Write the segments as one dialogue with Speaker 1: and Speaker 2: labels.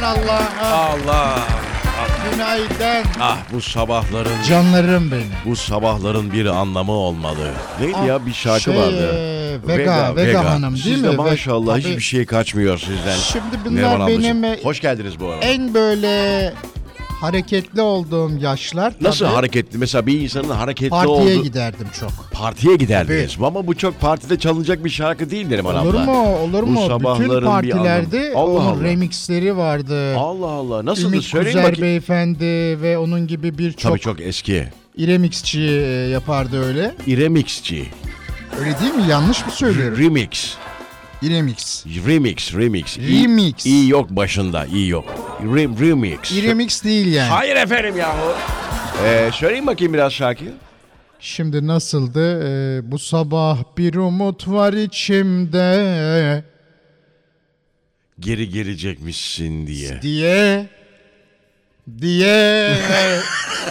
Speaker 1: Ah.
Speaker 2: Allah'a
Speaker 1: Allah.
Speaker 2: günaydın.
Speaker 1: Ah bu sabahların
Speaker 2: Canlarım benim.
Speaker 1: bu sabahların bir anlamı olmalı. Neydi ya bir şarkı
Speaker 2: Şey,
Speaker 1: vardı.
Speaker 2: e, Vega, Vega, Hanım değil
Speaker 1: Siz
Speaker 2: mi?
Speaker 1: de
Speaker 2: Ve-
Speaker 1: maşallah
Speaker 2: Tabii.
Speaker 1: hiçbir şey kaçmıyor sizden.
Speaker 2: Şimdi bunlar
Speaker 1: Neriman ablacığım,
Speaker 2: benim e,
Speaker 1: Hoş geldiniz bu arada.
Speaker 2: en böyle hareketli olduğum yaşlar.
Speaker 1: Nasıl
Speaker 2: tabii
Speaker 1: hareketli? Mesela bir insanın hareketli
Speaker 2: Partiye
Speaker 1: olduğu...
Speaker 2: giderdim çok.
Speaker 1: Partiye giderdiniz. Ama bu çok partide çalınacak bir şarkı değil Neriman
Speaker 2: Olur
Speaker 1: abla.
Speaker 2: mu? Olur
Speaker 1: Bu
Speaker 2: mu?
Speaker 1: sabahların
Speaker 2: Bütün
Speaker 1: bir
Speaker 2: partilerde
Speaker 1: anlamı. Allah
Speaker 2: onun
Speaker 1: Allah.
Speaker 2: remixleri vardı.
Speaker 1: Allah Allah. Nasıl
Speaker 2: Ümit
Speaker 1: söyleyin
Speaker 2: Kuzer
Speaker 1: bakayım.
Speaker 2: beyefendi ve onun gibi
Speaker 1: Tabii
Speaker 2: birçok
Speaker 1: çok eski.
Speaker 2: remixçi e, yapardı öyle.
Speaker 1: Remixçi.
Speaker 2: Öyle değil mi? Yanlış mı söylüyorum?
Speaker 1: Remix.
Speaker 2: Remix.
Speaker 1: Remix, remix. İyi-
Speaker 2: Remix.
Speaker 1: İyi yok başında, iyi yok. Rem, remix.
Speaker 2: Remix değil yani.
Speaker 1: Hayır efendim yahu. Ee, söyleyeyim bakayım biraz şarkıyı.
Speaker 2: Şimdi nasıldı? Ee, bu sabah bir umut var içimde
Speaker 1: Geri gelecekmişsin diye.
Speaker 2: diye diye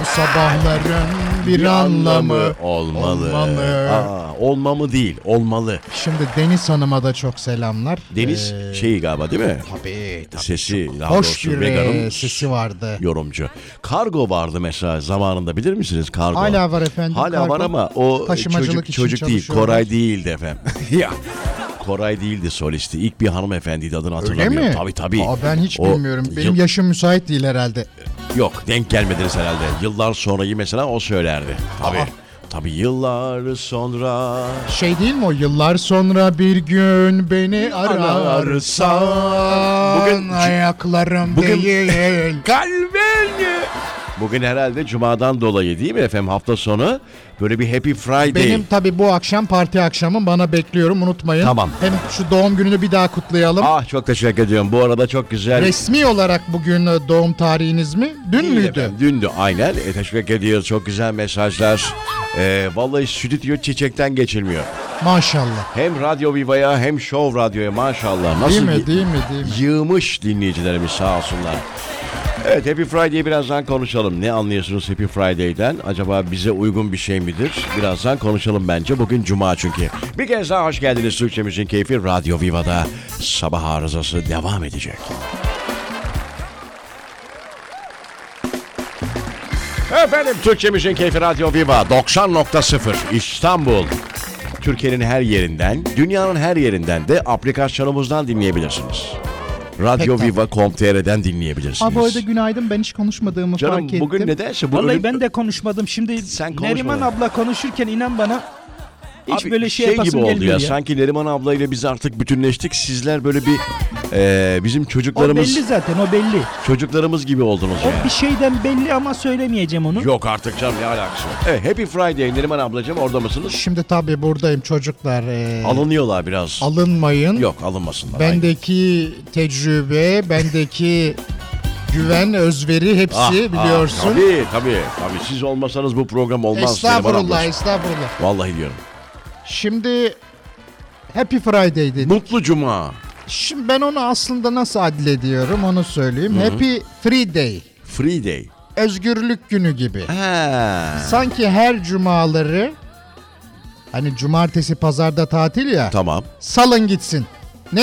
Speaker 2: bu sabahların bir anlamı
Speaker 1: olmalı.
Speaker 2: olmalı.
Speaker 1: Aa, olmamı değil, olmalı.
Speaker 2: Şimdi Deniz Hanım'a da çok selamlar.
Speaker 1: Deniz şeyi galiba değil mi?
Speaker 2: Ee, Tabii, tabii.
Speaker 1: Sesi, daha
Speaker 2: Hoş
Speaker 1: doğrusu
Speaker 2: bir
Speaker 1: Vega'nın
Speaker 2: e, sesi vardı.
Speaker 1: yorumcu. Kargo vardı mesela zamanında bilir misiniz kargo?
Speaker 2: Hala var efendim,
Speaker 1: Hala
Speaker 2: kargo.
Speaker 1: var ama o
Speaker 2: Taşımacılık
Speaker 1: çocuk
Speaker 2: için
Speaker 1: çocuk değil.
Speaker 2: çalışıyorlar.
Speaker 1: Koray değildi efendim. ya. Koray değildi solisti. İlk bir hanımefendiydi adını
Speaker 2: Öyle
Speaker 1: hatırlamıyorum.
Speaker 2: mi?
Speaker 1: Tabii tabii.
Speaker 2: Aa, ben hiç
Speaker 1: O
Speaker 2: bilmiyorum. Benim
Speaker 1: yıl-
Speaker 2: yaşım müsait değil herhalde.
Speaker 1: Yok denk gelmediniz herhalde. Yıllar sonrayı mesela o söylerdi. Tabii. Tabii yıllar sonra
Speaker 2: Şey değil mi o yıllar sonra bir gün beni ararsan
Speaker 1: Bugün-
Speaker 2: bugün, ayaklarım
Speaker 1: Bugün-
Speaker 2: değil.
Speaker 1: kalbini. Bugün herhalde cumadan dolayı değil mi efendim hafta sonu böyle bir happy friday.
Speaker 2: Benim tabi bu akşam parti akşamım bana bekliyorum unutmayın.
Speaker 1: Tamam.
Speaker 2: Hem şu doğum gününü bir daha kutlayalım.
Speaker 1: Ah çok teşekkür ediyorum. Bu arada çok güzel.
Speaker 2: Resmi olarak bugün e, doğum tarihiniz mi? Dün
Speaker 1: Değil
Speaker 2: müydü?
Speaker 1: efendim, Dündü aynen. E, teşekkür ediyoruz. Çok güzel mesajlar. E, vallahi stüdyo çiçekten geçilmiyor.
Speaker 2: Maşallah.
Speaker 1: Hem Radyo Viva'ya hem Show Radyo'ya maşallah. Nasıl
Speaker 2: Değil
Speaker 1: y-
Speaker 2: mi? Değil mi? Değil mi?
Speaker 1: yığmış dinleyicilerimiz sağ olsunlar. Evet Happy Friday'i birazdan konuşalım. Ne anlıyorsunuz Happy Friday'den? Acaba bize uygun bir şey midir? Birazdan konuşalım bence. Bugün Cuma çünkü. Bir kez daha hoş geldiniz Türkçemizin Keyfi Radyo Viva'da. Sabah arızası devam edecek. Efendim Türkçemizin Keyfi Radyo Viva 90.0 İstanbul. Türkiye'nin her yerinden, dünyanın her yerinden de aplikasyonumuzdan dinleyebilirsiniz. Radyo
Speaker 2: Pek
Speaker 1: Viva.com.tr'den dinleyebilirsiniz.
Speaker 3: Abi bu arada günaydın ben hiç konuşmadığımı
Speaker 1: Canım
Speaker 3: fark ettim.
Speaker 1: bugün nedense bu
Speaker 4: Vallahi
Speaker 1: ölüm-
Speaker 4: ben de konuşmadım. Şimdi
Speaker 1: Sen konuşma
Speaker 4: Neriman
Speaker 1: da.
Speaker 4: abla konuşurken inan bana hiç
Speaker 1: Abi,
Speaker 4: böyle şey,
Speaker 1: gibi
Speaker 4: yapasım
Speaker 1: oldu ya.
Speaker 4: gelmiyor ya.
Speaker 1: Sanki Neriman ablayla biz artık bütünleştik. Sizler böyle bir e, bizim
Speaker 4: O
Speaker 1: çocuklarımız
Speaker 4: belli zaten o belli.
Speaker 1: çocuklarımız gibi oldunuz
Speaker 4: O
Speaker 1: ya.
Speaker 4: bir şey. şeyden belli ama söylemeyeceğim onu.
Speaker 1: Yok artık canım ne alakası var. Evet, Happy Friday Neriman ablacığım orada mısınız?
Speaker 2: Şimdi tabi buradayım çocuklar. e,
Speaker 4: Şey.
Speaker 1: Alınıyorlar biraz.
Speaker 2: alınmayın.
Speaker 1: Yok alınmasınlar. Ay,
Speaker 2: Bendeki tecrübe, bendeki güven, özveri hepsi
Speaker 1: ah, ah,
Speaker 2: biliyorsun.
Speaker 1: tabii tabii. Tabii siz olmasanız bu program olmaz Neriman
Speaker 2: estağfurullah,
Speaker 1: ablacığım.
Speaker 2: estağfurullah.
Speaker 1: Vallahi diyorum.
Speaker 2: Şimdi Happy Friday dedi.
Speaker 1: Mutlu Cuma.
Speaker 2: Şimdi ben onu aslında nasıl adlediyorum onu söyleyeyim. Happy Free Day.
Speaker 1: Free Day.
Speaker 2: Özgürlük günü gibi.
Speaker 1: Ha.
Speaker 2: Sanki her cumaları hani cumartesi pazarda tatil ya.
Speaker 1: Tamam.
Speaker 2: Salın gitsin. Ne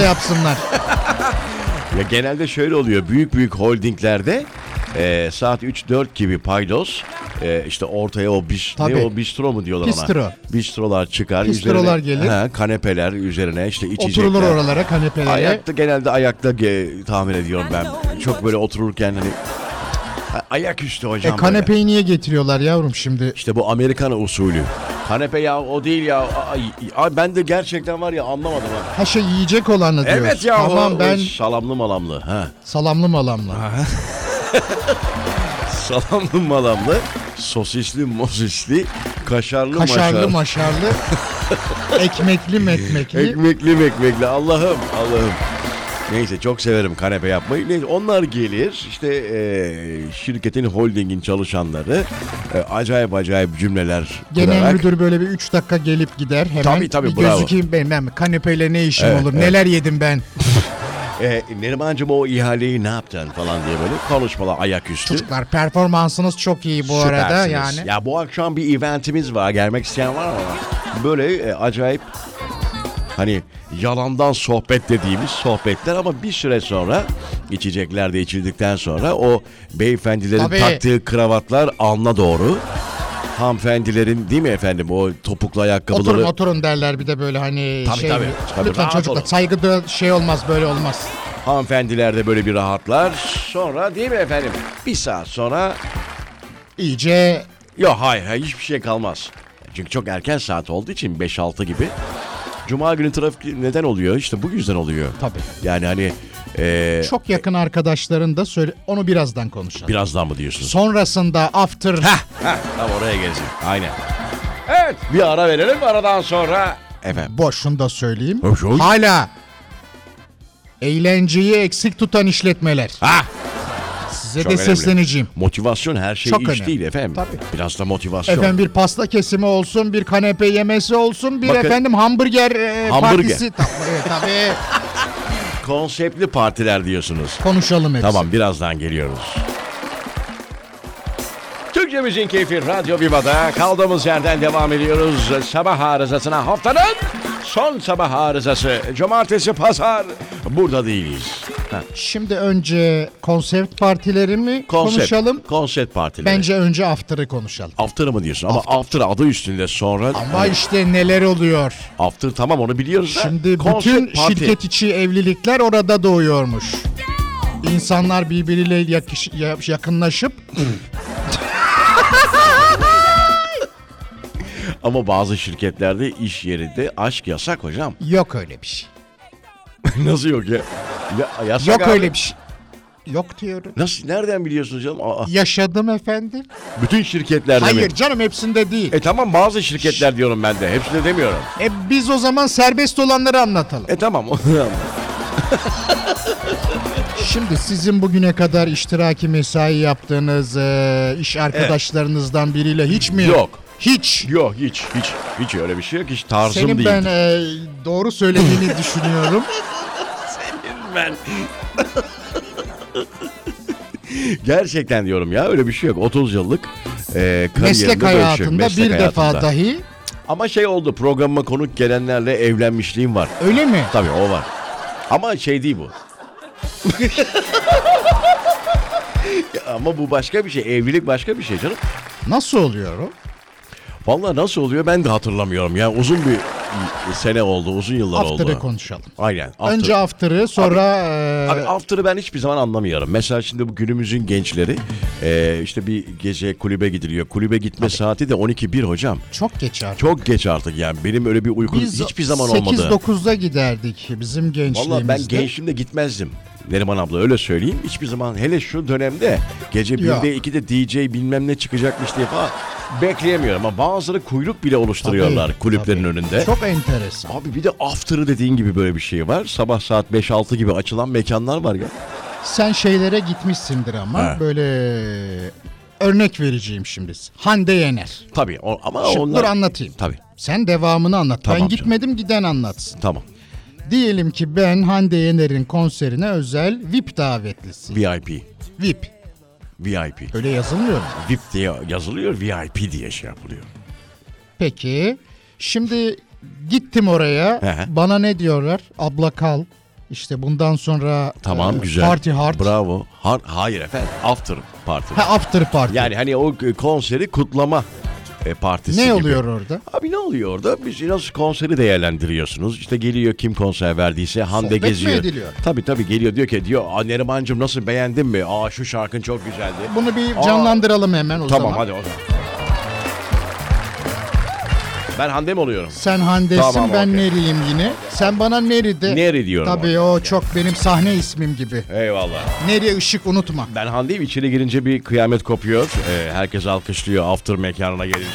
Speaker 2: yapsınlar.
Speaker 1: Ya genelde şöyle oluyor. Büyük büyük holdinglerde e, saat 3-4 gibi paydos e, işte ortaya o bis,
Speaker 2: Tabii.
Speaker 1: ne o bistro mu diyorlar
Speaker 2: Bistro.
Speaker 1: ona? Bistrolar çıkar.
Speaker 2: Bistrolar gelir.
Speaker 1: Ha, kanepeler üzerine işte içecekler.
Speaker 2: Oturulur oralara kanepelere. E,
Speaker 1: Ayakta genelde ayakta ge- tahmin ediyorum ben. Çok böyle otururken hani A- ayak üstü hocam. böyle.
Speaker 2: E kanepeyi niye getiriyorlar yavrum şimdi?
Speaker 1: İşte bu Amerikan usulü. Kanepe ya o değil ya. Ay, ay, ben de gerçekten var ya anlamadım. Ha.
Speaker 2: Ha şey yiyecek olanı diyorsun.
Speaker 1: Evet ya
Speaker 2: Tamam
Speaker 1: o,
Speaker 2: ben
Speaker 1: salamlı malamlı. Ha.
Speaker 2: salamlı malamlı.
Speaker 1: Salamlı malamlı, sosisli mosisli, kaşarlı, maşarlı,
Speaker 2: Kaşarlı maşarlı. ekmekli mekmekli.
Speaker 1: ekmekli mekmekli. Allah'ım Allah'ım. Neyse çok severim kanepe yapmayı. Neyse, onlar gelir işte eee, şirketin holdingin çalışanları eee, acayip acayip cümleler
Speaker 2: Genel
Speaker 1: kurarak.
Speaker 2: müdür böyle bir 3 dakika gelip gider hemen.
Speaker 1: Tabii, tabii,
Speaker 2: bir
Speaker 1: bravo.
Speaker 2: gözükeyim benim hem kanepeyle ne işim olur neler yedim ben.
Speaker 1: Eee, e, Nerimancığım o ihaleyi ne yaptın falan diye böyle konuşmalar ayaküstü.
Speaker 2: Çocuklar performansınız çok iyi bu arada
Speaker 1: Süpersiniz.
Speaker 2: yani.
Speaker 1: Ya bu akşam bir eventimiz var. Gelmek isteyen var mı? Böyle e, acayip Hani yalandan sohbet dediğimiz sohbetler ama bir süre sonra içecekler de içildikten sonra o beyefendilerin
Speaker 2: Tabii.
Speaker 1: taktığı kravatlar alna doğru. Hanımefendilerin değil mi efendim o topuklu ayakkabıları.
Speaker 2: Oturun oturun derler bir de böyle hani
Speaker 1: Tabii,
Speaker 2: şey.
Speaker 1: tabii. Tabii,
Speaker 2: Lütfen
Speaker 1: rahat
Speaker 2: çocuklar
Speaker 1: olun.
Speaker 2: saygı da şey olmaz böyle olmaz.
Speaker 1: Hanımefendiler de böyle bir rahatlar. Sonra değil mi efendim? Bir saat sonra
Speaker 2: İyice
Speaker 1: Yok hayır, hayır hiçbir şey kalmaz. Çünkü çok erken saat olduğu için 5-6 gibi. Cuma günü trafik neden oluyor? İşte bu yüzden oluyor.
Speaker 2: Tabii.
Speaker 1: Yani hani eee,
Speaker 2: çok yakın arkadaşların da söyle onu birazdan konuşalım.
Speaker 1: birazdan mı diyorsunuz?
Speaker 2: Sonrasında after
Speaker 1: Heh, tam oraya geleceğim. Aynen. Evet bir ara verelim aradan sonra. Efendim.
Speaker 2: boşunu da söyleyeyim.
Speaker 1: Hoş, hoş.
Speaker 2: Hala eğlenceyi eksik tutan işletmeler.
Speaker 1: Ha,
Speaker 2: Size
Speaker 1: Ah, çok
Speaker 2: de
Speaker 1: önemli.
Speaker 2: sesleneceğim.
Speaker 1: Motivasyon her şey
Speaker 2: Çok
Speaker 1: iş
Speaker 2: önemli.
Speaker 1: değil efendim.
Speaker 2: Tabii.
Speaker 1: Biraz da motivasyon.
Speaker 2: Efendim bir pasta kesimi olsun, bir kanepe yemesi olsun, bir
Speaker 1: Bakın-
Speaker 2: efendim hamburger, e,
Speaker 1: Hamburger.
Speaker 2: partisi. Tabii, tabii.
Speaker 1: Konseptli partiler diyorsunuz.
Speaker 2: konuşalım hepsini.
Speaker 1: Tamam birazdan geliyoruz. Türkçe Müziğin Keyfi Radyo Viva'da kaldığımız yerden devam ediyoruz. Sabah arızasına haftanın son sabah arızası. Cumartesi, pazar burada değiliz.
Speaker 2: Şimdi önce konsept partileri mi
Speaker 1: Konsept,
Speaker 2: konuşalım?
Speaker 1: Konsept partileri.
Speaker 2: Bence önce after'ı konuşalım.
Speaker 1: After mı diyorsun? Ama after, adı üstünde sonra.
Speaker 2: Ama işte neler oluyor.
Speaker 1: After tamam onu biliyoruz da.
Speaker 2: Şimdi bütün
Speaker 1: konsept parti.
Speaker 2: şirket içi evlilikler orada doğuyormuş. İnsanlar birbiriyle yakış- ya- yakınlaşıp
Speaker 1: Ama bazı şirketlerde iş yerinde aşk yasak hocam.
Speaker 2: yok öyle bir şey.
Speaker 1: Nasıl yok ya? ya yasak
Speaker 2: Yok
Speaker 1: abi.
Speaker 2: öyle bir şey. Yok diyorum.
Speaker 1: Nasıl? Nereden biliyorsunuz canım? Aa,
Speaker 2: Yaşadım efendim.
Speaker 1: bütün şirketlerde mi?
Speaker 2: Hayır canım hepsinde değil.
Speaker 1: E tamam bazı şirketler diyorum ben de. Hepsini demiyorum.
Speaker 2: E biz o zaman serbest olanları anlatalım.
Speaker 1: E tamam. E-
Speaker 2: Şimdi sizin bugüne kadar iştiraki mesai yaptığınız e, iş arkadaşlarınızdan biriyle hiç mi?
Speaker 1: Yok.
Speaker 2: Hiç.
Speaker 1: yok hiç hiç hiç öyle bir şey yok. Hiç tarzım
Speaker 2: Senin
Speaker 1: değil.
Speaker 2: ben e, doğru söylediğini düşünüyorum.
Speaker 1: Gerçekten diyorum ya öyle bir şey yok. 30 yıllık e, kariyerimde böyle bir
Speaker 2: Meslek
Speaker 1: şey yok.
Speaker 2: hayatında
Speaker 1: Meslek
Speaker 2: bir defa
Speaker 1: hayatımda.
Speaker 2: dahi
Speaker 1: Ama şey oldu programıma konuk gelenlerle evlenmişliğim var.
Speaker 2: öyle mi?
Speaker 1: Tabii o var. Ama şey değil bu. Ya ama bu başka bir şey. Evlilik başka bir şey canım.
Speaker 2: Nasıl oluyor o?
Speaker 1: Vallahi nasıl oluyor ben de hatırlamıyorum. Yani uzun bir sene oldu, uzun yıllar oldu.
Speaker 2: After'ı konuşalım.
Speaker 1: Aynen. after.
Speaker 2: Önce after'ı sonra e,
Speaker 1: Abi after'ı ben hiçbir zaman anlamıyorum. Mesela şimdi bu günümüzün gençleri e, işte bir gece kulübe gidiliyor. Kulübe gitme saati de 12-1 hocam.
Speaker 2: çok geç artık.
Speaker 1: Çok geç artık yani. Benim öyle bir uykum hiçbir zaman olmadı.
Speaker 2: 8-9'da giderdik bizim gençliğimizde.
Speaker 1: Vallahi ben gençliğimde gitmezdim. Neriman abla öyle söyleyeyim. Hiçbir zaman hele şu dönemde gece 1'de 2'de DJ bilmem ne çıkacakmış diye falan bekleyemiyorum. Ama bazıları kuyruk bile oluşturuyorlar
Speaker 2: Tabii,
Speaker 1: kulüplerin
Speaker 2: tabii.
Speaker 1: önünde.
Speaker 2: Çok enteresan.
Speaker 1: Abi bir de after'ı dediğin gibi böyle bir şey var. Sabah saat 5-6 gibi açılan mekanlar var ya.
Speaker 2: Sen şeylere gitmişsindir ama
Speaker 1: He.
Speaker 2: böyle e, örnek vereceğim şimdi. Hande Yener.
Speaker 1: Tabii o- ama
Speaker 2: Şimdi
Speaker 1: onlar...
Speaker 2: dur anlatayım.
Speaker 1: Tabii
Speaker 2: Sen devamını anlat.
Speaker 1: Tamam
Speaker 2: ben
Speaker 1: canım.
Speaker 2: gitmedim giden anlatsın.
Speaker 1: tamam.
Speaker 2: Diyelim ki ben Hande Yener'in konserine özel VIP davetlisiyim.
Speaker 1: VIP.
Speaker 2: VIP.
Speaker 1: VIP.
Speaker 2: Öyle yazılmıyor mu?
Speaker 1: VIP diye yazılıyor, VIP diye şey yapılıyor.
Speaker 2: Peki. Şimdi gittim oraya.
Speaker 1: Hı hı.
Speaker 2: Bana ne diyorlar? Abla kal. İşte bundan sonra
Speaker 1: Tamam
Speaker 2: e,
Speaker 1: güzel.
Speaker 2: party hard.
Speaker 1: Bravo. Har- hayır efendim. After party.
Speaker 2: ha, after party.
Speaker 1: Yani hani o e, konseri kutlama e, partisi
Speaker 2: ne
Speaker 1: gibi.
Speaker 2: oluyor orada?
Speaker 1: Abi ne oluyor orada? Biz nasıl konseri değerlendiriyorsunuz? İşte geliyor kim konser verdiyse Hande
Speaker 2: Sohbet mi
Speaker 1: geziyor.
Speaker 2: ediliyor?
Speaker 1: Tabii tabii geliyor diyor ki diyor "Aa, Nerimancığım nasıl beğendin mi? Aa şu şarkın çok güzeldi.
Speaker 2: Bunu bir
Speaker 1: Aa,
Speaker 2: canlandıralım hemen o
Speaker 1: Tamam
Speaker 2: zaman.
Speaker 1: hadi o zaman. Ben Hande mi oluyorum?
Speaker 2: Sen Hande'sin
Speaker 1: Tamam,
Speaker 2: ben
Speaker 1: okey.
Speaker 2: Neri'yim yine. Sen bana Neri'de.
Speaker 1: Neri diyorum
Speaker 2: Tabii o çok benim sahne ismim gibi.
Speaker 1: Eyvallah.
Speaker 2: Neri ışık unutma.
Speaker 1: Ben Hande'yim. İçeri girince bir kıyamet kopuyor. Ee, herkes alkışlıyor after mekanına gelince.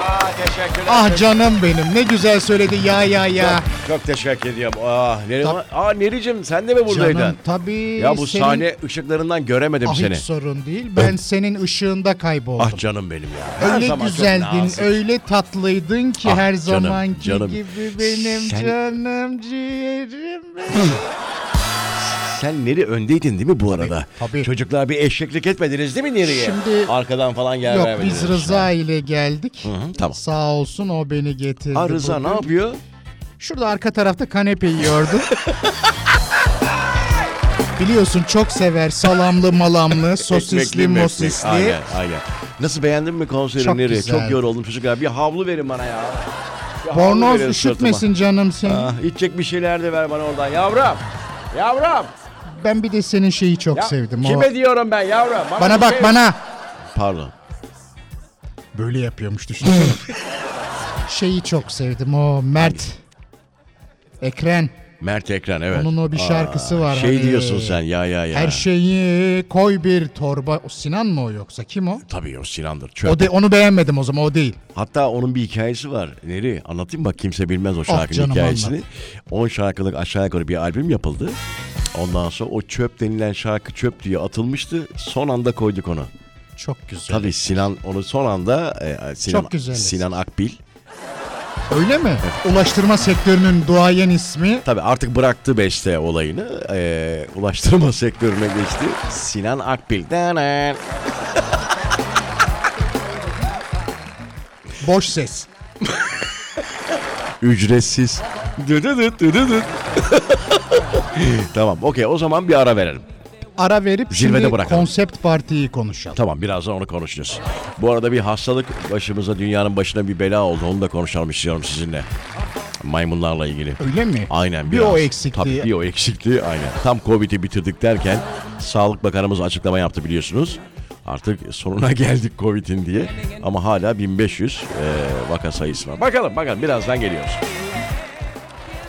Speaker 1: Aa teşekkürler.
Speaker 2: Ah canım benim ne güzel söyledi ya ya ya.
Speaker 1: Çok teşekkür ediyorum. Ah, Neriman, Aa Nericim sen de mi buradaydın?
Speaker 2: Canım tabii.
Speaker 1: ya bu
Speaker 2: senin-
Speaker 1: sahne ışıklarından göremedim
Speaker 2: ah,
Speaker 1: seni.
Speaker 2: Hiç sorun değil ben senin ışığında kayboldum.
Speaker 1: Ah canım benim ya. Her
Speaker 2: öyle
Speaker 1: zaman çok
Speaker 2: güzeldin
Speaker 1: nazik.
Speaker 2: öyle tatlıydın ki
Speaker 1: Ah,
Speaker 2: her
Speaker 1: canım,
Speaker 2: zamanki
Speaker 1: canım.
Speaker 2: gibi benim
Speaker 1: Sen-
Speaker 2: canım ciğerim. benim.
Speaker 1: Sen Neri öndeydin değil mi bu arada?
Speaker 2: tabii.
Speaker 1: Çocuklar bir eşeklik etmediniz değil mi Neri'ye?
Speaker 2: Şimdi-
Speaker 1: Arkadan falan gel
Speaker 2: Yok
Speaker 1: vermediniz.
Speaker 2: biz Rıza ile geldik.
Speaker 1: Hı hı, tamam.
Speaker 2: Sağ olsun o beni getirdi.
Speaker 1: Ha Rıza ne
Speaker 2: bugün.
Speaker 1: yapıyor?
Speaker 2: Şurada arka tarafta kanepe yiyordu. Biliyorsun çok sever salamlı malamlı sosisli
Speaker 1: mekmek.
Speaker 2: mosisli.
Speaker 1: Aynen aynen. Nasıl beğendin mi konseri
Speaker 2: Çok
Speaker 1: nereye?
Speaker 2: güzel.
Speaker 1: Çok yoruldum çocuklar. Bir havlu verin bana ya. Bir havlu
Speaker 2: Bornoz
Speaker 1: verin sırtıma.
Speaker 2: üşütmesin canım seni.
Speaker 1: Ah, içecek bir şeyler de ver bana oradan yavrum. Yavrum.
Speaker 2: Ben bir de senin şeyi çok
Speaker 1: Ya,
Speaker 2: sevdim. O-
Speaker 1: Kime diyorum ben yavrum?
Speaker 2: Bana
Speaker 1: bir
Speaker 2: bak
Speaker 1: şey-
Speaker 2: bana.
Speaker 1: Pardon.
Speaker 2: Böyle yapıyormuş düşünsene. şeyi çok sevdim o Mert. Ekren.
Speaker 1: Mert Ekran evet.
Speaker 2: Onun o bir şarkısı var
Speaker 1: Şey
Speaker 2: hani.
Speaker 1: diyorsun sen ya ya ya.
Speaker 2: Her şeyi koy bir torba. O Sinan mı o yoksa kim o?
Speaker 1: Tabii o Sinan'dır. Çöp.
Speaker 2: O de, onu beğenmedim o zaman o değil.
Speaker 1: Hatta onun bir hikayesi var. Neri anlatayım bak kimse bilmez o şarkının
Speaker 2: Ah, canım,
Speaker 1: hikayesini.
Speaker 2: anlat.
Speaker 1: 10 şarkılık aşağı yukarı bir albüm yapıldı. Ondan sonra o çöp denilen şarkı çöp diye atılmıştı. Son anda koyduk onu.
Speaker 2: Çok güzel.
Speaker 1: Tabii Sinan onu son anda e, Sinan,
Speaker 2: Çok güzel.
Speaker 1: Sinan Akbil.
Speaker 2: Öyle mi? Ulaştırma sektörünün duayen ismi
Speaker 1: Tabii artık bıraktı beste olayını. E, ulaştırma sektörüne geçti. Sinan Akbil. Danan.
Speaker 2: boş ses.
Speaker 1: Ücretsiz. Düdüdüt, düdüdüt. tamam okey o zaman bir ara verelim.
Speaker 2: Ara verip
Speaker 1: Zirvede
Speaker 2: şimdi
Speaker 1: bırakalım.
Speaker 2: konsept partiyi konuşalım.
Speaker 1: Tamam birazdan onu konuşacağız. Bu arada bir hastalık başımıza dünyanın başına bir bela oldu. Onu da konuşalım istiyorum sizinle. Maymunlarla ilgili.
Speaker 2: Öyle mi?
Speaker 1: Aynen
Speaker 2: Bir
Speaker 1: biraz.
Speaker 2: o eksikliği.
Speaker 1: Tabii bir o eksikliği aynen. Tam Covid'i bitirdik derken Sağlık Bakanımız açıklama yaptı biliyorsunuz. Artık sonuna geldik Covid'in diye. Ama hala 1500 e, vaka sayısı var. Bakalım bakalım birazdan geliyoruz.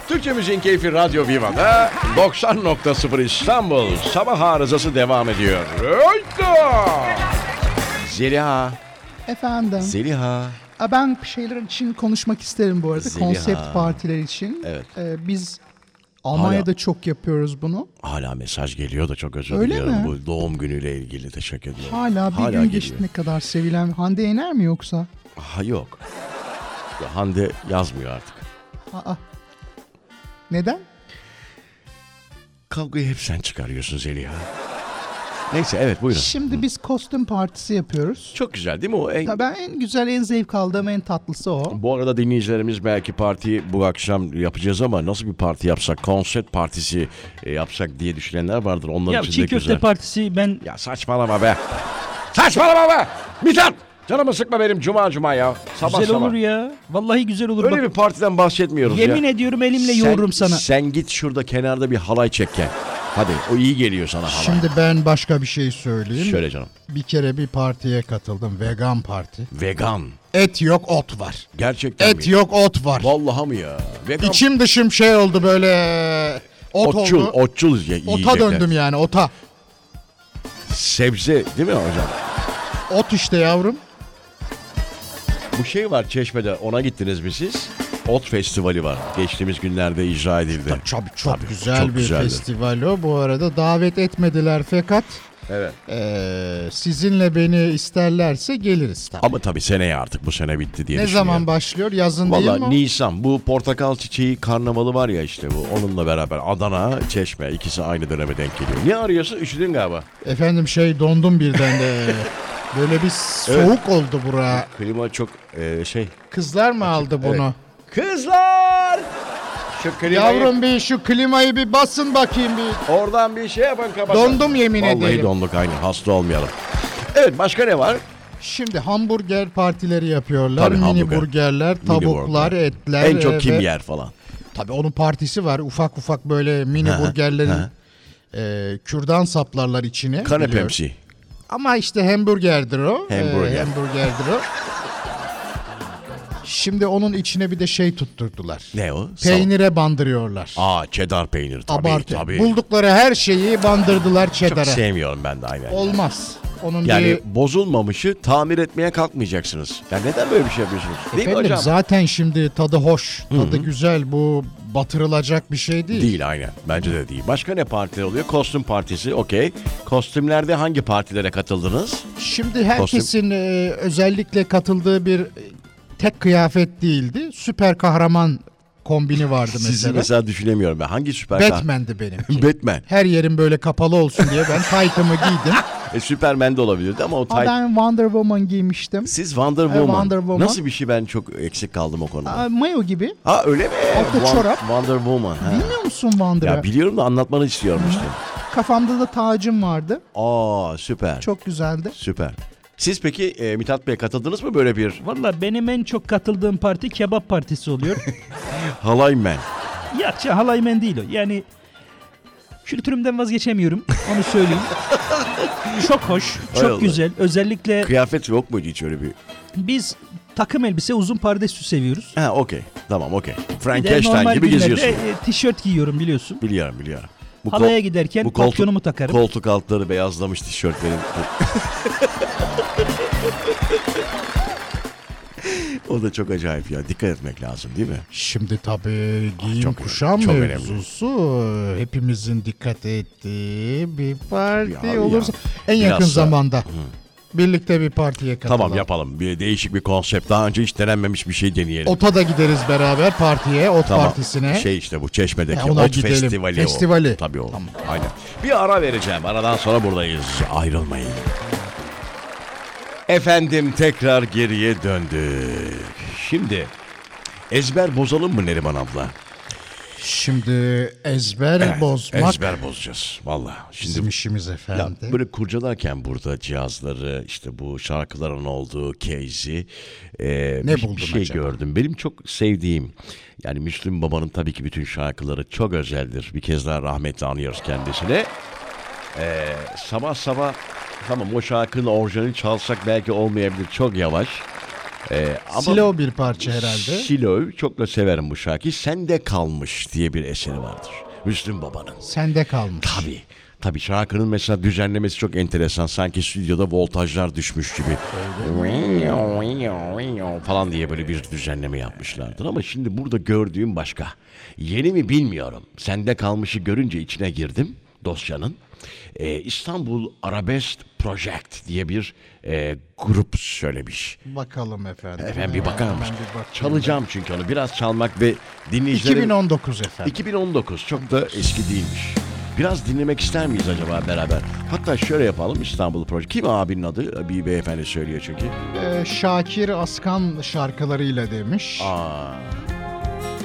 Speaker 1: Türkçe Müziğin Keyfi Radyo Viva'da 90.0 İstanbul sabah arızası devam ediyor. Hayda! Zeliha,
Speaker 3: Efendim.
Speaker 1: Zeliha.
Speaker 3: Aa, ben bir şeyler için konuşmak isterim bu arada.
Speaker 1: Zeliha.
Speaker 3: Konsept partiler için.
Speaker 1: Evet.
Speaker 3: Ee, biz Almanya'da çok yapıyoruz bunu.
Speaker 1: Hala mesaj geliyor da çok özür
Speaker 3: Öyle
Speaker 1: diliyorum.
Speaker 3: mi?
Speaker 1: Bu doğum günüyle ilgili teşekkür ederim.
Speaker 3: Hala bir gün
Speaker 1: Hala geliyor.
Speaker 3: geçti ne kadar sevilen Hande Yener mi yoksa?
Speaker 1: Ha yok. Ya Hande yazmıyor artık.
Speaker 3: Aa. Neden?
Speaker 1: Kavgayı hep sen çıkarıyorsun Zeliha. Neyse evet buyurun.
Speaker 3: Şimdi biz kostüm partisi yapıyoruz.
Speaker 1: Çok güzel değil mi o? En-
Speaker 3: Ya ben en güzel, en zevk aldığım, en tatlısı o.
Speaker 1: Bu arada dinleyicilerimiz belki parti bu akşam yapacağız ama nasıl bir parti yapsak? Konsept partisi e, yapsak diye düşünenler vardır. Onların
Speaker 4: Ya
Speaker 1: için
Speaker 4: çiğ
Speaker 1: de
Speaker 4: köfte
Speaker 1: güzel.
Speaker 4: partisi ben
Speaker 1: ya saçmalama be. Saçmalama be. Mithat. Canımı sıkma benim cuma cuma ya. Sabah
Speaker 4: güzel
Speaker 1: sabah.
Speaker 4: olur ya. Vallahi güzel olur.
Speaker 1: Öyle
Speaker 4: Bak,
Speaker 1: bir partiden bahsetmiyoruz ya.
Speaker 4: yemin ediyorum elimle
Speaker 1: Sen-
Speaker 4: yoğururum sana.
Speaker 1: Sen git şurada kenarda bir halay çekken. Hadi o iyi geliyor sana halay.
Speaker 2: Şimdi ben başka bir şey söyleyeyim.
Speaker 1: Şöyle canım.
Speaker 2: Bir kere bir partiye katıldım. Vegan parti.
Speaker 1: Vegan.
Speaker 2: Et yok ot var.
Speaker 1: Gerçekten
Speaker 2: Et
Speaker 1: mi?
Speaker 2: yok ot var.
Speaker 1: Vallahi mi ya? Vegan.
Speaker 2: İçim dışım şey oldu böyle ot
Speaker 1: otçul,
Speaker 2: oldu.
Speaker 1: otçul ye- yiyecekler.
Speaker 2: Ota döndüm yani ota.
Speaker 1: Sebze değil mi hocam?
Speaker 2: Ot işte yavrum.
Speaker 1: Bu şey var Çeşme'de ona gittiniz mi siz? Ot festivali var. Geçtiğimiz günlerde icra edildi.
Speaker 2: Tabii çok
Speaker 1: Tabii,
Speaker 2: güzel
Speaker 1: çok
Speaker 2: bir
Speaker 1: güzeldi.
Speaker 2: festival o. Bu arada davet etmediler fakat
Speaker 1: Evet.
Speaker 2: eee, sizinle beni isterlerse geliriz tabii.
Speaker 1: Ama tabii seneye artık bu sene bitti diye
Speaker 2: ne
Speaker 1: düşünüyorum.
Speaker 2: zaman başlıyor? Yazın değil mi?
Speaker 1: Valla
Speaker 2: o?
Speaker 1: Nisan bu portakal çiçeği karnavalı var ya işte bu onunla beraber Adana, Çeşme ikisi aynı döneme denk geliyor. Niye arıyorsun? Üşüdün galiba.
Speaker 2: Efendim şey dondum birden de. Böyle bir soğuk oldu bura.
Speaker 1: Klima çok e, şey.
Speaker 2: Kızlar mı aldı bunu?
Speaker 1: Kızlar! Şu klimayı
Speaker 2: Yavrum bir şu klimayı bir basın bakayım bir.
Speaker 1: oradan bir şey yapın kapatın.
Speaker 2: Dondum yemin
Speaker 1: Vallahi
Speaker 2: ederim.
Speaker 1: donduk aynı hasta olmayalım. Evet başka ne var?
Speaker 2: Şimdi hamburger partileri yapıyorlar.
Speaker 1: Tabii,
Speaker 2: mini
Speaker 1: hamburger.
Speaker 2: burgerler,
Speaker 1: Mini
Speaker 2: tavuklar,
Speaker 1: burger.
Speaker 2: etler.
Speaker 1: en çok
Speaker 2: e,
Speaker 1: kim
Speaker 2: ve-
Speaker 1: yer falan.
Speaker 2: Tabii onun partisi var. Ufak ufak böyle mini
Speaker 1: Hı hı,
Speaker 2: burgerlerin
Speaker 1: hı.
Speaker 2: e, kürdan saplarlar içine. biliyorum.
Speaker 1: Kanepemsi.
Speaker 2: Ama işte hamburgerdir o. E,
Speaker 1: Hamburger.
Speaker 2: hamburgerdir o. Şimdi onun içine bir de şey tutturdular.
Speaker 1: Ne o? Sal-
Speaker 2: Peynire bandırıyorlar.
Speaker 1: Aa cheddar peynir tabii
Speaker 2: Abartı.
Speaker 1: tabii.
Speaker 2: Buldukları her şeyi bandırdılar
Speaker 1: Çok
Speaker 2: çedara.
Speaker 1: sevmiyorum ben de aynen.
Speaker 2: Olmaz. Onun
Speaker 1: Yani
Speaker 2: bir...
Speaker 1: bozulmamışı tamir etmeye kalkmayacaksınız. Ya neden böyle bir şey yapıyorsunuz? Değil mi
Speaker 2: Efendim
Speaker 1: hocam?
Speaker 2: zaten şimdi tadı hoş, tadı güzel. Bu batırılacak bir şey değil.
Speaker 1: Değil aynen. Bence de değil. Başka ne partiler oluyor? Kostüm partisi okey. Kostümlerde hangi partilere katıldınız?
Speaker 2: Şimdi herkesin e, özellikle katıldığı bir e, tek kıyafet değildi. Süper kahraman kombini vardı
Speaker 1: Sizi
Speaker 2: mesela.
Speaker 1: mesela düşünemiyorum ben. Hangi süper
Speaker 2: Batman'di benim.
Speaker 1: Batman.
Speaker 2: Her yerim böyle kapalı olsun diye ben taytımı giydim.
Speaker 1: E, Superman de olabilirdi ama o
Speaker 3: Ama
Speaker 1: tight.
Speaker 3: ben Wonder Woman giymiştim.
Speaker 1: Siz Wonder
Speaker 3: E,
Speaker 1: Woman.
Speaker 3: Wonder Woman.
Speaker 1: Nasıl bir şey ben çok eksik kaldım o konuda.
Speaker 3: Aa, mayo gibi.
Speaker 1: ha öyle mi?
Speaker 3: Altta
Speaker 1: Wan-
Speaker 3: çorap.
Speaker 1: Wonder Woman. ha.
Speaker 3: Bilmiyor musun Wonder'ı?
Speaker 1: Ya biliyorum da anlatmanı istiyorum işte.
Speaker 3: Kafamda da tacım vardı.
Speaker 1: Aa süper.
Speaker 3: Çok güzeldi.
Speaker 1: Süper. Siz peki e, Mithat Bey katıldınız mı böyle bir
Speaker 4: Valla benim en çok katıldığım parti kebap partisi oluyor.
Speaker 1: halay men?
Speaker 4: ya şey, halay men değil o. Yani kültürümden vazgeçemiyorum. Onu söyleyeyim. çok hoş,
Speaker 1: Hay
Speaker 4: çok
Speaker 1: Allah.
Speaker 4: güzel. Özellikle
Speaker 1: Kıyafet yok muydu hiç öyle bir?
Speaker 4: biz takım elbise uzun pardesü seviyoruz.
Speaker 1: Ha okey. Tamam okey.
Speaker 4: Bir de
Speaker 1: Frankenstein
Speaker 4: normal
Speaker 1: gibi
Speaker 4: günlerde,
Speaker 3: şey-
Speaker 1: geziyorsun.
Speaker 4: e, tişört giyiyorum biliyorsun.
Speaker 1: Biliyorum biliyorum. Bu kol-
Speaker 4: Halaya giderken
Speaker 1: bu koltuk-
Speaker 4: papyonumu takarım.
Speaker 1: Koltuk altları beyazlamış tişörtlerin. o da çok acayip ya. Dikkat etmek lazım değil mi?
Speaker 2: Şimdi tabii giyim
Speaker 1: çok-
Speaker 2: kuşam
Speaker 1: çok
Speaker 2: mevzusu hepimizin dikkat ettiği bir parti
Speaker 1: Ya, ya.
Speaker 2: olursa en
Speaker 1: Biraz
Speaker 2: yakın
Speaker 1: da-
Speaker 2: zamanda birlikte bir partiye katılalım.
Speaker 1: Tamam yapalım. Bir değişik bir konsept. Daha önce hiç denenmemiş bir şey deneyelim.
Speaker 2: Ota da gideriz beraber partiye, ot
Speaker 1: tamam.
Speaker 2: partisine.
Speaker 1: Şey işte bu Çeşme'deki
Speaker 2: Ya, ona
Speaker 1: Ot
Speaker 2: gidelim.
Speaker 1: Festivali o.
Speaker 2: Festivali.
Speaker 1: Tabii o. Aynen. Bir ara vereceğim. Aradan sonra buradayız. Ayrılmayın. Efendim tekrar geriye döndük. Şimdi ezber bozalım mı Neriman abla?
Speaker 2: Şimdi ezber bozmak
Speaker 1: Ezber bozacağız. Valla. Şimdi
Speaker 2: bizim işimiz efendim.
Speaker 1: Ya böyle kurcalarken burada cihazları işte bu şarkıların olduğu case'i e,
Speaker 2: Ne
Speaker 1: bir,
Speaker 2: buldun
Speaker 1: bir şey
Speaker 2: acaba?
Speaker 1: gördüm. Benim çok sevdiğim yani Müslüm Baba'nın tabii ki bütün şarkıları çok özeldir. Bir kez daha rahmetle anıyoruz kendisini. E, sabah sabah tamam o şarkının orijinalini çalsak belki olmayabilir çok yavaş. E, ama
Speaker 2: Silo bir parça herhalde.
Speaker 1: Silo çok da severim bu şarkıyı. Sende kalmış diye bir eseri vardır. Müslüm Baba'nın.
Speaker 2: Sende kalmış.
Speaker 1: Tabii. Tabii şarkının mesela düzenlemesi çok enteresan. Sanki stüdyoda voltajlar düşmüş gibi. falan diye böyle bir düzenleme yapmışlardır. Ama şimdi burada gördüğüm başka. Yeni mi bilmiyorum. Sende kalmışı görünce içine girdim dosyanın. Ee, İstanbul Arabesk Project diye bir e, grup söylemiş.
Speaker 2: Bakalım efendim.
Speaker 1: Efendim bir bakar
Speaker 2: Hemen
Speaker 1: mısın?
Speaker 2: bir bakayım.
Speaker 1: Çalacağım çünkü onu. Biraz çalmak ve dinleyicilerin...
Speaker 2: 2019 efendim.
Speaker 1: 2019 çok da eski değilmiş. Biraz dinlemek ister miyiz acaba beraber? Hatta şöyle yapalım İstanbul Proje. Kim abinin adı? Ee, Bir beyefendi söylüyor çünkü.
Speaker 2: Ee, Şakir Askan şarkılarıyla demiş.
Speaker 1: Aa.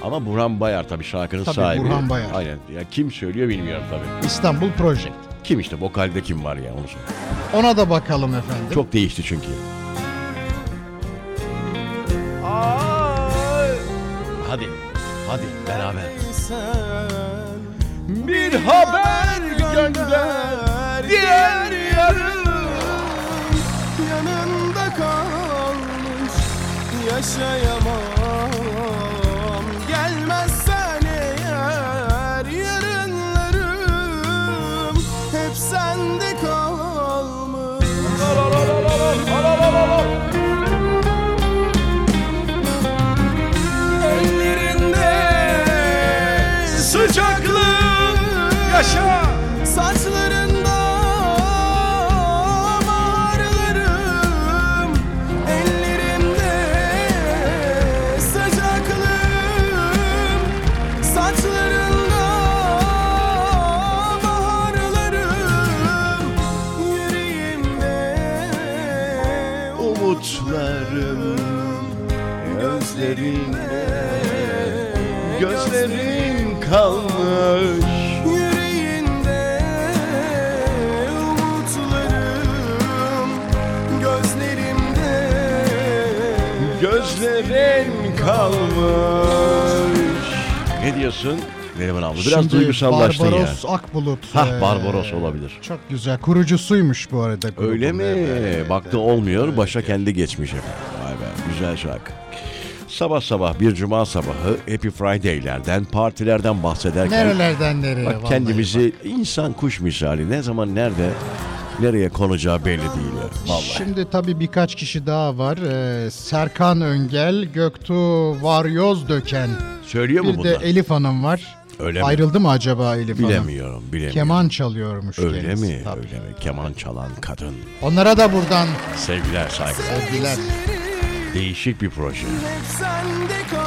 Speaker 1: Ama Burhan Bayar tabii şarkının
Speaker 2: Tabii,
Speaker 1: sahibi.
Speaker 2: Burhan Bayar.
Speaker 1: Aynen. Ya kim söylüyor bilmiyorum tabii.
Speaker 2: İstanbul Project.
Speaker 1: Kim işte vokalde kim var ya onu söyle.
Speaker 2: Ona da bakalım efendim.
Speaker 1: Çok değişti çünkü. Hadi. Hadi beraber. Bir haber gönder diğer yarın.
Speaker 5: yanında kalmış yaşayamam Gelmezsen eğer yarınlarım hep sende kalmış Ellerinde sıcaklık yaşa Saçlarında baharlarım Ellerimde sıcaklığım Saçlarında baharlarım Yüreğimde
Speaker 1: Umutlarım gözlerinde gözlerin kalmış.
Speaker 5: Yüreğinde umutlarım Gözlerimde
Speaker 1: Gözlerin kalmış. Ne diyorsun? Neriman abla biraz
Speaker 2: Şimdi
Speaker 1: duygusallaştın ya.
Speaker 2: Barbaros Akbulut.
Speaker 1: Hah
Speaker 2: ee,
Speaker 1: Barbaros olabilir.
Speaker 2: Çok güzel. Kurucusuymuş bu arada. grubun.
Speaker 1: Öyle mi?
Speaker 2: Evet.
Speaker 1: Baktı olmuyor. Başa kendi geçmiş efendim. Vay be güzel şarkı. Sabah sabah bir cuma sabahı Happy Friday'lerden, partilerden bahsederken
Speaker 2: Nerelerden nereye?
Speaker 1: bak
Speaker 2: vallahi
Speaker 1: kendimizi insan kuş misali ne zaman nerede nereye konacağı belli değil. ya. Vallahi.
Speaker 2: Şimdi tabii birkaç kişi daha var. Ee, Serkan Öngel, Göktuğ Varyoz Döken.
Speaker 1: Söylüyor mu
Speaker 2: Bir de
Speaker 1: bunlar?
Speaker 2: Elif Hanım var.
Speaker 1: Öyle mi?
Speaker 2: Ayrıldı mı acaba Elif Hanım?
Speaker 1: Bilemiyorum, bilemiyorum.
Speaker 2: Keman çalıyormuş
Speaker 1: Öyle
Speaker 2: kendisi,
Speaker 1: mi?
Speaker 2: tabii.
Speaker 1: Öyle mi? Keman çalan kadın.
Speaker 2: Onlara da buradan
Speaker 1: Sevgiler, saygılar.
Speaker 2: sevgiler.
Speaker 1: Değişik bir proje.
Speaker 5: Hep sende kal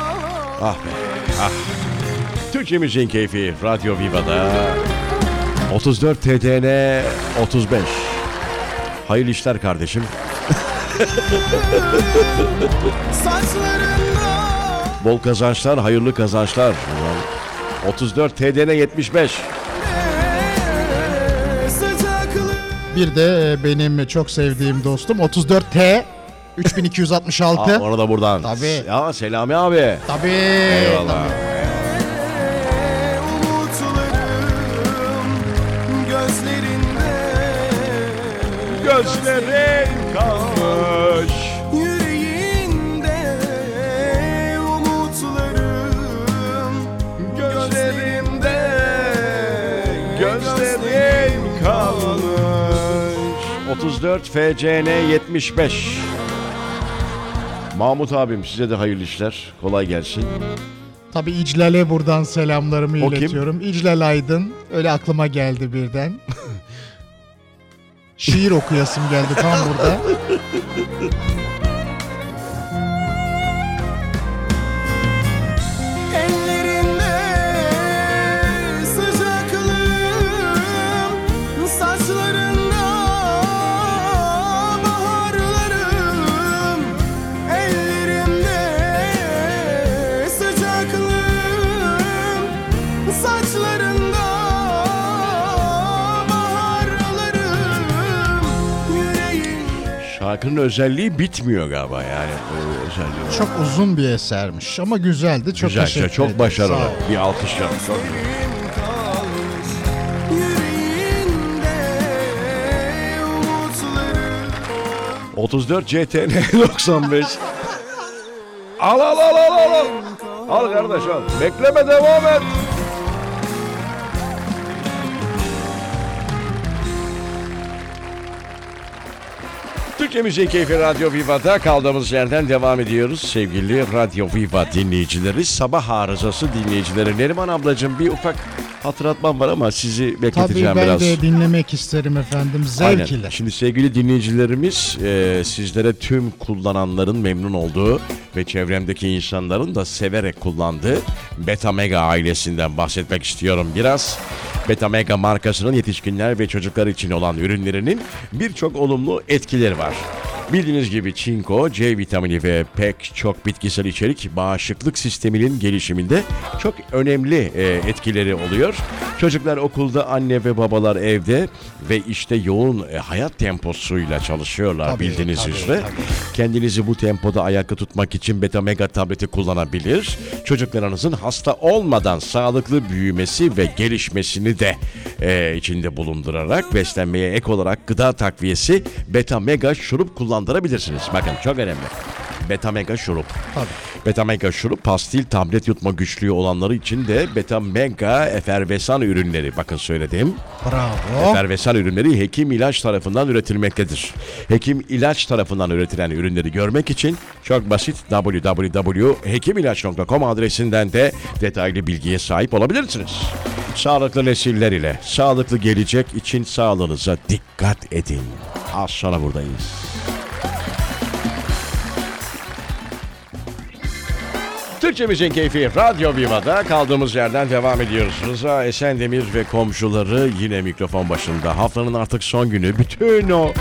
Speaker 1: Ah be, ah. Türkçemizin keyfi Radyo Viva'da. 34 TDN 35. Hayırlı işler kardeşim.
Speaker 5: saçlarında
Speaker 1: Bol kazançlar, hayırlı kazançlar. Ulan. 34 TDN 75.
Speaker 5: sıcaklık
Speaker 2: Bir de e, benim çok sevdiğim dostum 34T
Speaker 1: Aa,
Speaker 2: 3266.
Speaker 1: ona da buradan.
Speaker 2: Tabii.
Speaker 1: Ya Selami abi.
Speaker 2: Tabii.
Speaker 1: Eyvallah.
Speaker 5: umutlarım gözlerinde
Speaker 1: Gözlerin kalmış.
Speaker 5: yüreğinde umutlarım gözlerimde
Speaker 1: Gözlerin kalmış. 34 FCN 75. Mahmut abim size de hayırlı işler. Kolay gelsin.
Speaker 2: Tabii İclal'e buradan selamlarımı
Speaker 1: O kim?
Speaker 2: iletiyorum. İclal Aydın. Öyle aklıma geldi birden. Şiir okuyasım geldi tam burada.
Speaker 5: Ellerinde sıcaklığım, saçlarında baharlarım. Ellerimde sıcaklığım, saçlarında baharlarım. Yüreğimde
Speaker 1: Şarkının özelliği bitmiyor galiba yani. Ee, özelliği. var.
Speaker 2: Çok uzun bir esermiş ama güzeldi. Çok
Speaker 1: Güzel,
Speaker 2: teşekkür
Speaker 1: çok
Speaker 2: ederim.
Speaker 1: başarılı.
Speaker 2: Sağ ol.
Speaker 1: Bir alkışlayalım. Çok güzel.
Speaker 5: Gözlerim kalmış yüreğinde umutlarım
Speaker 1: 34 CTN 95. al al al al al. al. Al kardeş al. Bekleme devam et. Türkçe Müziği Keyfi Radyo Viva'da kaldığımız yerden devam ediyoruz. Sevgili Radyo Viva dinleyicileri, sabah arızası dinleyicileri. Neriman ablacığım bir ufak hatırlatmam var ama sizi
Speaker 2: Tabii
Speaker 1: bekleteceğim
Speaker 2: ben
Speaker 1: biraz.
Speaker 2: de dinlemek isterim efendim.
Speaker 1: Aynen.
Speaker 2: Zevk ile.
Speaker 1: Şimdi sevgili dinleyicilerimiz e, sizlere tüm kullananların memnun olduğu ve çevremdeki insanların da severek kullandığı Beta Mega ailesinden bahsetmek istiyorum biraz. Beta Mega markasının yetişkinler ve çocuklar için olan ürünlerinin birçok olumlu etkileri var. Bildiğiniz gibi çinko, C vitamini ve pek çok bitkisel içerik bağışıklık sisteminin gelişiminde çok önemli e, etkileri oluyor. Çocuklar okulda, anne ve babalar evde ve işte yoğun e, hayat temposuyla çalışıyorlar
Speaker 2: Tabii,
Speaker 1: bildiğiniz
Speaker 2: tabii,
Speaker 1: üzere. Kendinizi bu tempoda ayakta tutmak için Beta Mega tableti kullanabilir. Çocuklarınızın hasta olmadan sağlıklı büyümesi ve gelişmesini de e, içinde bulundurarak beslenmeye ek olarak gıda takviyesi Beta Mega şurup kullandırabilirsiniz. Bakın çok önemli. Beta Mega şurup. Beta Mega şurup pastil tablet yutma güçlüğü olanları için de Beta Mega efervesan ürünleri. Bakın söyledim.
Speaker 2: Bravo.
Speaker 1: Efervesan ürünleri hekim ilaç tarafından üretilmektedir. Hekim ilaç tarafından üretilen ürünleri görmek için çok basit www.hekimilaç.com adresinden de detaylı bilgiye sahip olabilirsiniz. Sağlıklı nesiller ile sağlıklı gelecek için sağlığınıza dikkat edin. Az sonra buradayız. Türkçemizin keyfi Radyo Viva'da kaldığımız yerden devam ediyoruz. Rıza Esendemir ve komşuları yine mikrofon başında. Haftanın artık son günü. Bütün o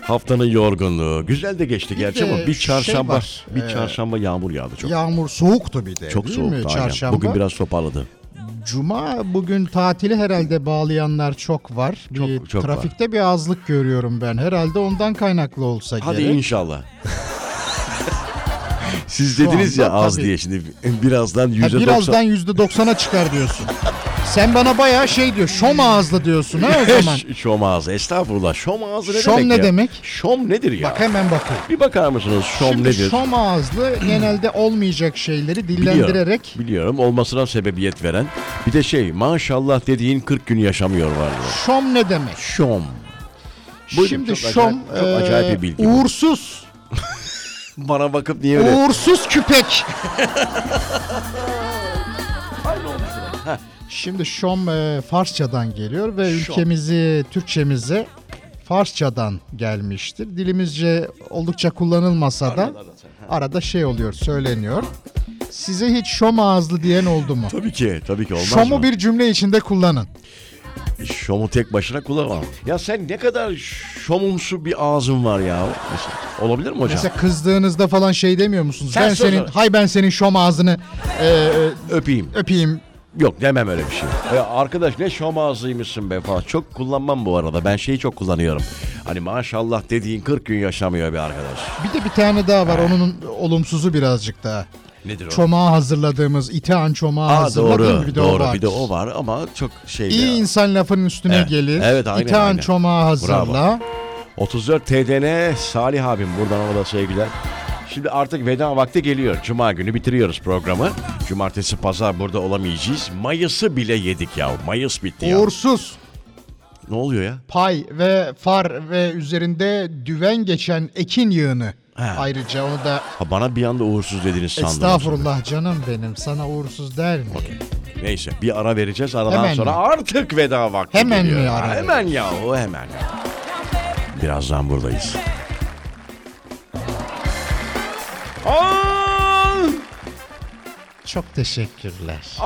Speaker 1: haftanın yorgunluğu. Güzel de geçti gerçi
Speaker 2: de
Speaker 1: ama bir
Speaker 2: şey
Speaker 1: çarşamba
Speaker 2: var,
Speaker 1: bir
Speaker 2: ee,
Speaker 1: çarşamba yağmur yağdı çok.
Speaker 2: Yağmur soğuktu bir de.
Speaker 1: çok
Speaker 2: değil
Speaker 1: soğuktu
Speaker 2: mi?
Speaker 1: aynen.
Speaker 2: Çarşamba.
Speaker 1: Bugün biraz toparladı.
Speaker 2: Cuma bugün tatili herhalde bağlayanlar çok var. Bir
Speaker 1: Çok- çok var.
Speaker 2: trafikte bir azlık görüyorum ben. Herhalde ondan kaynaklı olsa
Speaker 1: Hadi
Speaker 2: gerek.
Speaker 1: inşallah. Siz
Speaker 2: Şu
Speaker 1: dediniz ya
Speaker 2: anda
Speaker 1: az
Speaker 2: tabii.
Speaker 1: diye şimdi birazdan
Speaker 2: Ha,
Speaker 1: %90
Speaker 2: birazdan yüzde doksana çıkar diyorsun. Sen bana bayağı şey diyor. Şom ağızlı diyorsun ha o zaman.
Speaker 1: Ş- Şom ağzı estağfurullah. Şom ağzı ne
Speaker 2: Şom
Speaker 1: demek
Speaker 2: ne
Speaker 1: ya?
Speaker 2: demek?
Speaker 1: Şom nedir ya?
Speaker 2: Bak hemen bakayım.
Speaker 1: Bir bakar mısınız şom
Speaker 2: Şimdi
Speaker 1: nedir?
Speaker 2: şom ağızlı genelde olmayacak şeyleri
Speaker 1: Biliyorum,
Speaker 2: dillendirerek
Speaker 1: Biliyorum olmasına sebebiyet veren. Bir de şey maşallah dediğin 40 gün yaşamıyor var ya.
Speaker 2: şom ne demek?
Speaker 1: Şom. Buyurun,
Speaker 2: Şimdi
Speaker 1: çok
Speaker 2: şom e,
Speaker 1: acayip- çok acayip bir bilgi bu.
Speaker 2: uğursuz,
Speaker 1: Bana bakıp niye öyle?
Speaker 2: uğursuz küpek. Şimdi şom e, Farsçadan geliyor ve ülkemizi Türkçemize Farsçadan gelmiştir. Dilimizce oldukça kullanılmasa da arada şey oluyor, söyleniyor. Size hiç şom ağızlı diyen oldu mu?
Speaker 1: Tabii ki tabii ki olmaz
Speaker 2: Şomu
Speaker 1: mı?
Speaker 2: bir cümle içinde kullanın.
Speaker 1: Şomu tek başına kullanamam. Ya sen ne kadar şomumsu bir ağzın var ya. Mesela, olabilir mi hocam?
Speaker 2: Mesela kızdığınızda falan şey demiyor musunuz?
Speaker 1: Sen
Speaker 2: ben
Speaker 1: söyle.
Speaker 2: senin, hay ben senin şom ağzını e,
Speaker 1: Öpeyim.
Speaker 2: öpeyim.
Speaker 1: Yok demem öyle bir şey. Ya arkadaş ne şom ağzıymışsın be falan. Çok kullanmam bu arada. Ben şeyi çok kullanıyorum. Hani maşallah dediğin 40 gün yaşamıyor bir arkadaş.
Speaker 2: Bir de bir tane daha var. Onun olumsuzu birazcık daha.
Speaker 1: Nedir o?
Speaker 2: Çomağı hazırladığımız, itehan çomağı
Speaker 1: Aa,
Speaker 2: hazırladığım
Speaker 1: doğru.
Speaker 2: bir de o
Speaker 1: doğru.
Speaker 2: var.
Speaker 1: Bir de o var ama çok şey.
Speaker 2: İyi
Speaker 1: ya.
Speaker 2: insan lafın üstüne
Speaker 1: Evet.
Speaker 2: gelir.
Speaker 1: Evet, aynen,
Speaker 2: İtehan
Speaker 1: aynen.
Speaker 2: çomağı hazırla.
Speaker 1: Bravo. 34 TDN Salih abim buradan ona da sevgiler. Şimdi artık veda vakti geliyor. Cuma günü bitiriyoruz programı. Cumartesi pazar burada olamayacağız. Mayıs'ı bile yedik ya. Mayıs bitti ya.
Speaker 2: Uğursuz,
Speaker 1: Ne oluyor ya?
Speaker 2: pay ve far ve üzerinde düven geçen ekin yığını. Ayrıca onu da
Speaker 1: Ha, bana bir anda uğursuz dediniz sandım.
Speaker 2: estağfurullah canım benim sana uğursuz der mi?
Speaker 1: Neyse bir ara vereceğiz. Aradan
Speaker 2: Hemen
Speaker 1: sonra
Speaker 2: mi?
Speaker 1: artık veda vakti
Speaker 2: Hemen mi
Speaker 1: geliyor.
Speaker 2: ara
Speaker 1: Ha, Hemen ya o hemen. Birazdan buradayız.
Speaker 2: Çok teşekkürler.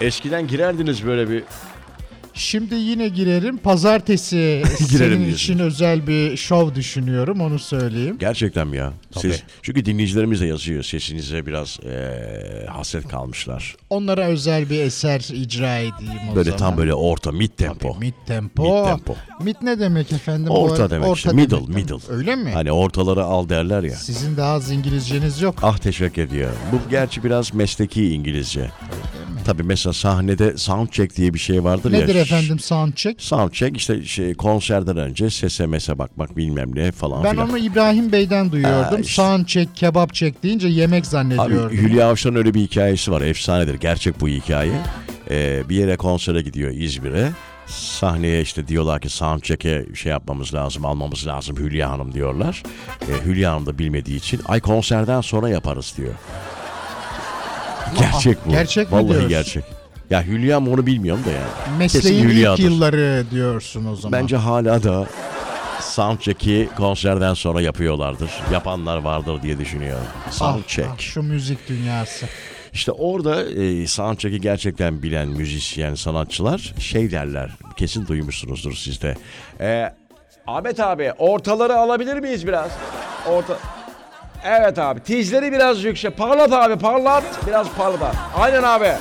Speaker 1: Eskiden girerdiniz böyle bir
Speaker 2: Şimdi yine girerim. Pazartesi senin
Speaker 1: diyorsunuz.
Speaker 2: için özel bir şov düşünüyorum onu söyleyeyim.
Speaker 1: Gerçekten mi ya? Ses, çünkü dinleyicilerimiz de yazıyor sesinize biraz eee, hasret kalmışlar.
Speaker 2: Onlara özel bir eser icra edeyim o
Speaker 1: Böyle
Speaker 2: zaman.
Speaker 1: tam böyle orta mid tempo.
Speaker 2: Mid tempo.
Speaker 1: Mid tempo.
Speaker 2: Mid ne demek efendim? Bu
Speaker 1: Orta
Speaker 2: arada-
Speaker 1: demek işte
Speaker 2: demek
Speaker 1: middle
Speaker 2: değil mi?
Speaker 1: middle.
Speaker 2: Öyle mi?
Speaker 1: Hani ortaları al derler ya.
Speaker 2: Sizin daha az İngilizceniz yok.
Speaker 1: Ah teşekkür ediyorum. Bu gerçi biraz mesleki İngilizce. Tabii mesela sahnede sound check diye bir şey vardır ya.
Speaker 2: Nedir efendim soundcheck?
Speaker 1: Sound check işte şey, konserden önce SMS'e e bakmak bilmem ne falan
Speaker 2: Ben
Speaker 1: filan.
Speaker 2: onu İbrahim Bey'den duyuyordum.
Speaker 1: Ha, işte.
Speaker 2: Soundcheck, kebap çek deyince yemek
Speaker 1: Abi
Speaker 2: zannediyordum.
Speaker 1: Hülya Avşar'ın öyle bir hikayesi var. Efsanedir. Gerçek bu hikaye. Ee, bir yere konsere gidiyor İzmir'e. Sahneye işte diyorlar ki soundcheck'e şey yapmamız lazım, almamız lazım Hülya Hanım diyorlar. Ee, Hülya Hanım da bilmediği için ay konserden sonra yaparız diyor. Gerçek bu.
Speaker 2: gerçek mi
Speaker 1: Vallahi
Speaker 2: diyorsun?
Speaker 1: gerçek. Ya Hülya mı onu bilmiyorum da yani. Kesin
Speaker 2: Mesleğin ilk
Speaker 1: Hülya'dır.
Speaker 2: yılları diyorsun o zaman.
Speaker 1: Bence hala da soundcheck'i konserden sonra yapıyorlardır. Yapanlar vardır diye düşünüyorum.
Speaker 2: Ah,
Speaker 1: Soundcheck.
Speaker 2: ah, şu müzik dünyası.
Speaker 1: İşte orada e, soundcheck'i gerçekten bilen müzisyen, sanatçılar şey derler. Kesin duymuşsunuzdur siz de. E, Ahmet abi ortaları alabilir miyiz biraz? Orta... Evet abi tizleri biraz yüksek. Parlat abi parlat. Biraz parlat abi. Aynen abi.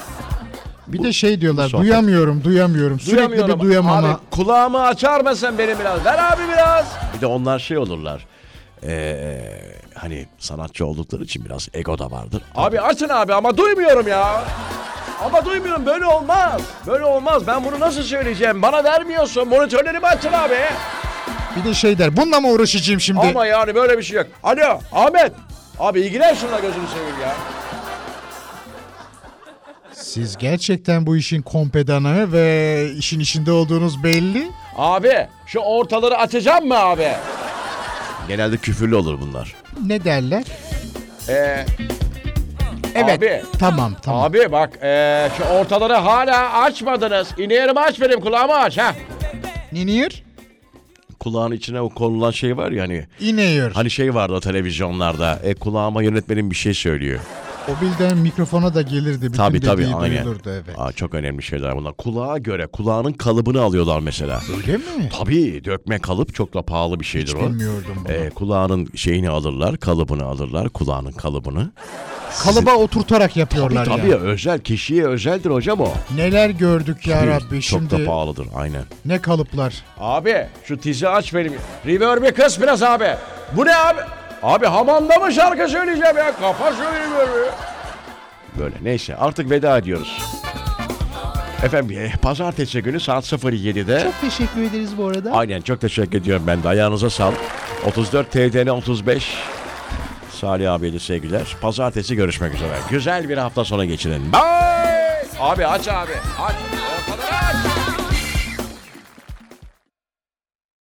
Speaker 2: Bir de şey diyorlar
Speaker 1: sohbet.
Speaker 2: duyamıyorum duyamıyorum sürekli bir duyamama.
Speaker 1: Abi kulağımı açar mısın benim biraz? Ver abi biraz. Bir de onlar şey olurlar. Ee, hani sanatçı oldukları için biraz ego da vardır. Abi açın abi ama duymuyorum ya. Ama duymuyorum böyle olmaz. Böyle olmaz. Ben bunu nasıl söyleyeceğim? Bana vermiyorsun. Monitörlerimi açın abi.
Speaker 2: Bir de şey der bununla mı uğraşacağım şimdi?
Speaker 1: Ama yani böyle bir şey yok. Alo Ahmet. Abi ilgilen şuna gözünü seveyim ya.
Speaker 2: Siz gerçekten bu işin kompedanı ve işin içinde olduğunuz belli.
Speaker 1: Abi şu ortaları açacağım mı abi? Genelde küfürlü olur bunlar.
Speaker 2: Ne derler?
Speaker 1: Ee,
Speaker 2: Evet.
Speaker 1: Abi.
Speaker 2: Tamam tamam.
Speaker 1: Abi bak eee, şu ortaları hala açmadınız. İneğimi aç benim kulağımı aç ha.
Speaker 2: Ninir
Speaker 1: Kulağın içine o konulan şey var ya hani.
Speaker 2: iniyor.
Speaker 1: Hani şey vardı o televizyonlarda. E, kulağıma yönetmenin bir şey söylüyor.
Speaker 2: O bilden mikrofona da gelirdi. Bütün
Speaker 1: Tabii tabii
Speaker 2: dediği
Speaker 1: aynen.
Speaker 2: duyulurdu evet.
Speaker 1: Aa, çok önemli şeyler bunlar. Kulağa göre kulağının kalıbını alıyorlar mesela.
Speaker 2: Öyle mi?
Speaker 1: Tabii dökme kalıp çok da pahalı bir şeydir o.
Speaker 2: bilmiyordum bunu.
Speaker 1: E, kulağının şeyini alırlar, kalıbını alırlar, kulağının kalıbını.
Speaker 2: Kalıba oturtarak yapıyorlar
Speaker 1: Tabii
Speaker 2: yani.
Speaker 1: özel, kişiye özeldir hocam o.
Speaker 2: Neler gördük ya
Speaker 1: Tabii,
Speaker 2: Rabbi
Speaker 1: çok da
Speaker 2: şimdi
Speaker 1: pahalıdır aynen.
Speaker 2: ne kalıplar.
Speaker 1: Abi şu tizi aç benim. Reverb'i kıs biraz abi. Bu ne abi? Abi hamamda mı şarkı söyleyeceğim ya? Kafa söyleyeyim böyle. Böyle neyse artık veda ediyoruz. Efendim eh, pazartesi günü saat 07'de.
Speaker 3: Çok teşekkür ederiz bu arada.
Speaker 1: Aynen çok teşekkür ediyorum ben de. Ayağınıza sağlık. 34 TDN 35. Salih abiye de sevgiler. Pazartesi görüşmek üzere. Güzel bir hafta sonu geçirin. Bye. Abi aç abi. Aç. Ortadan aç.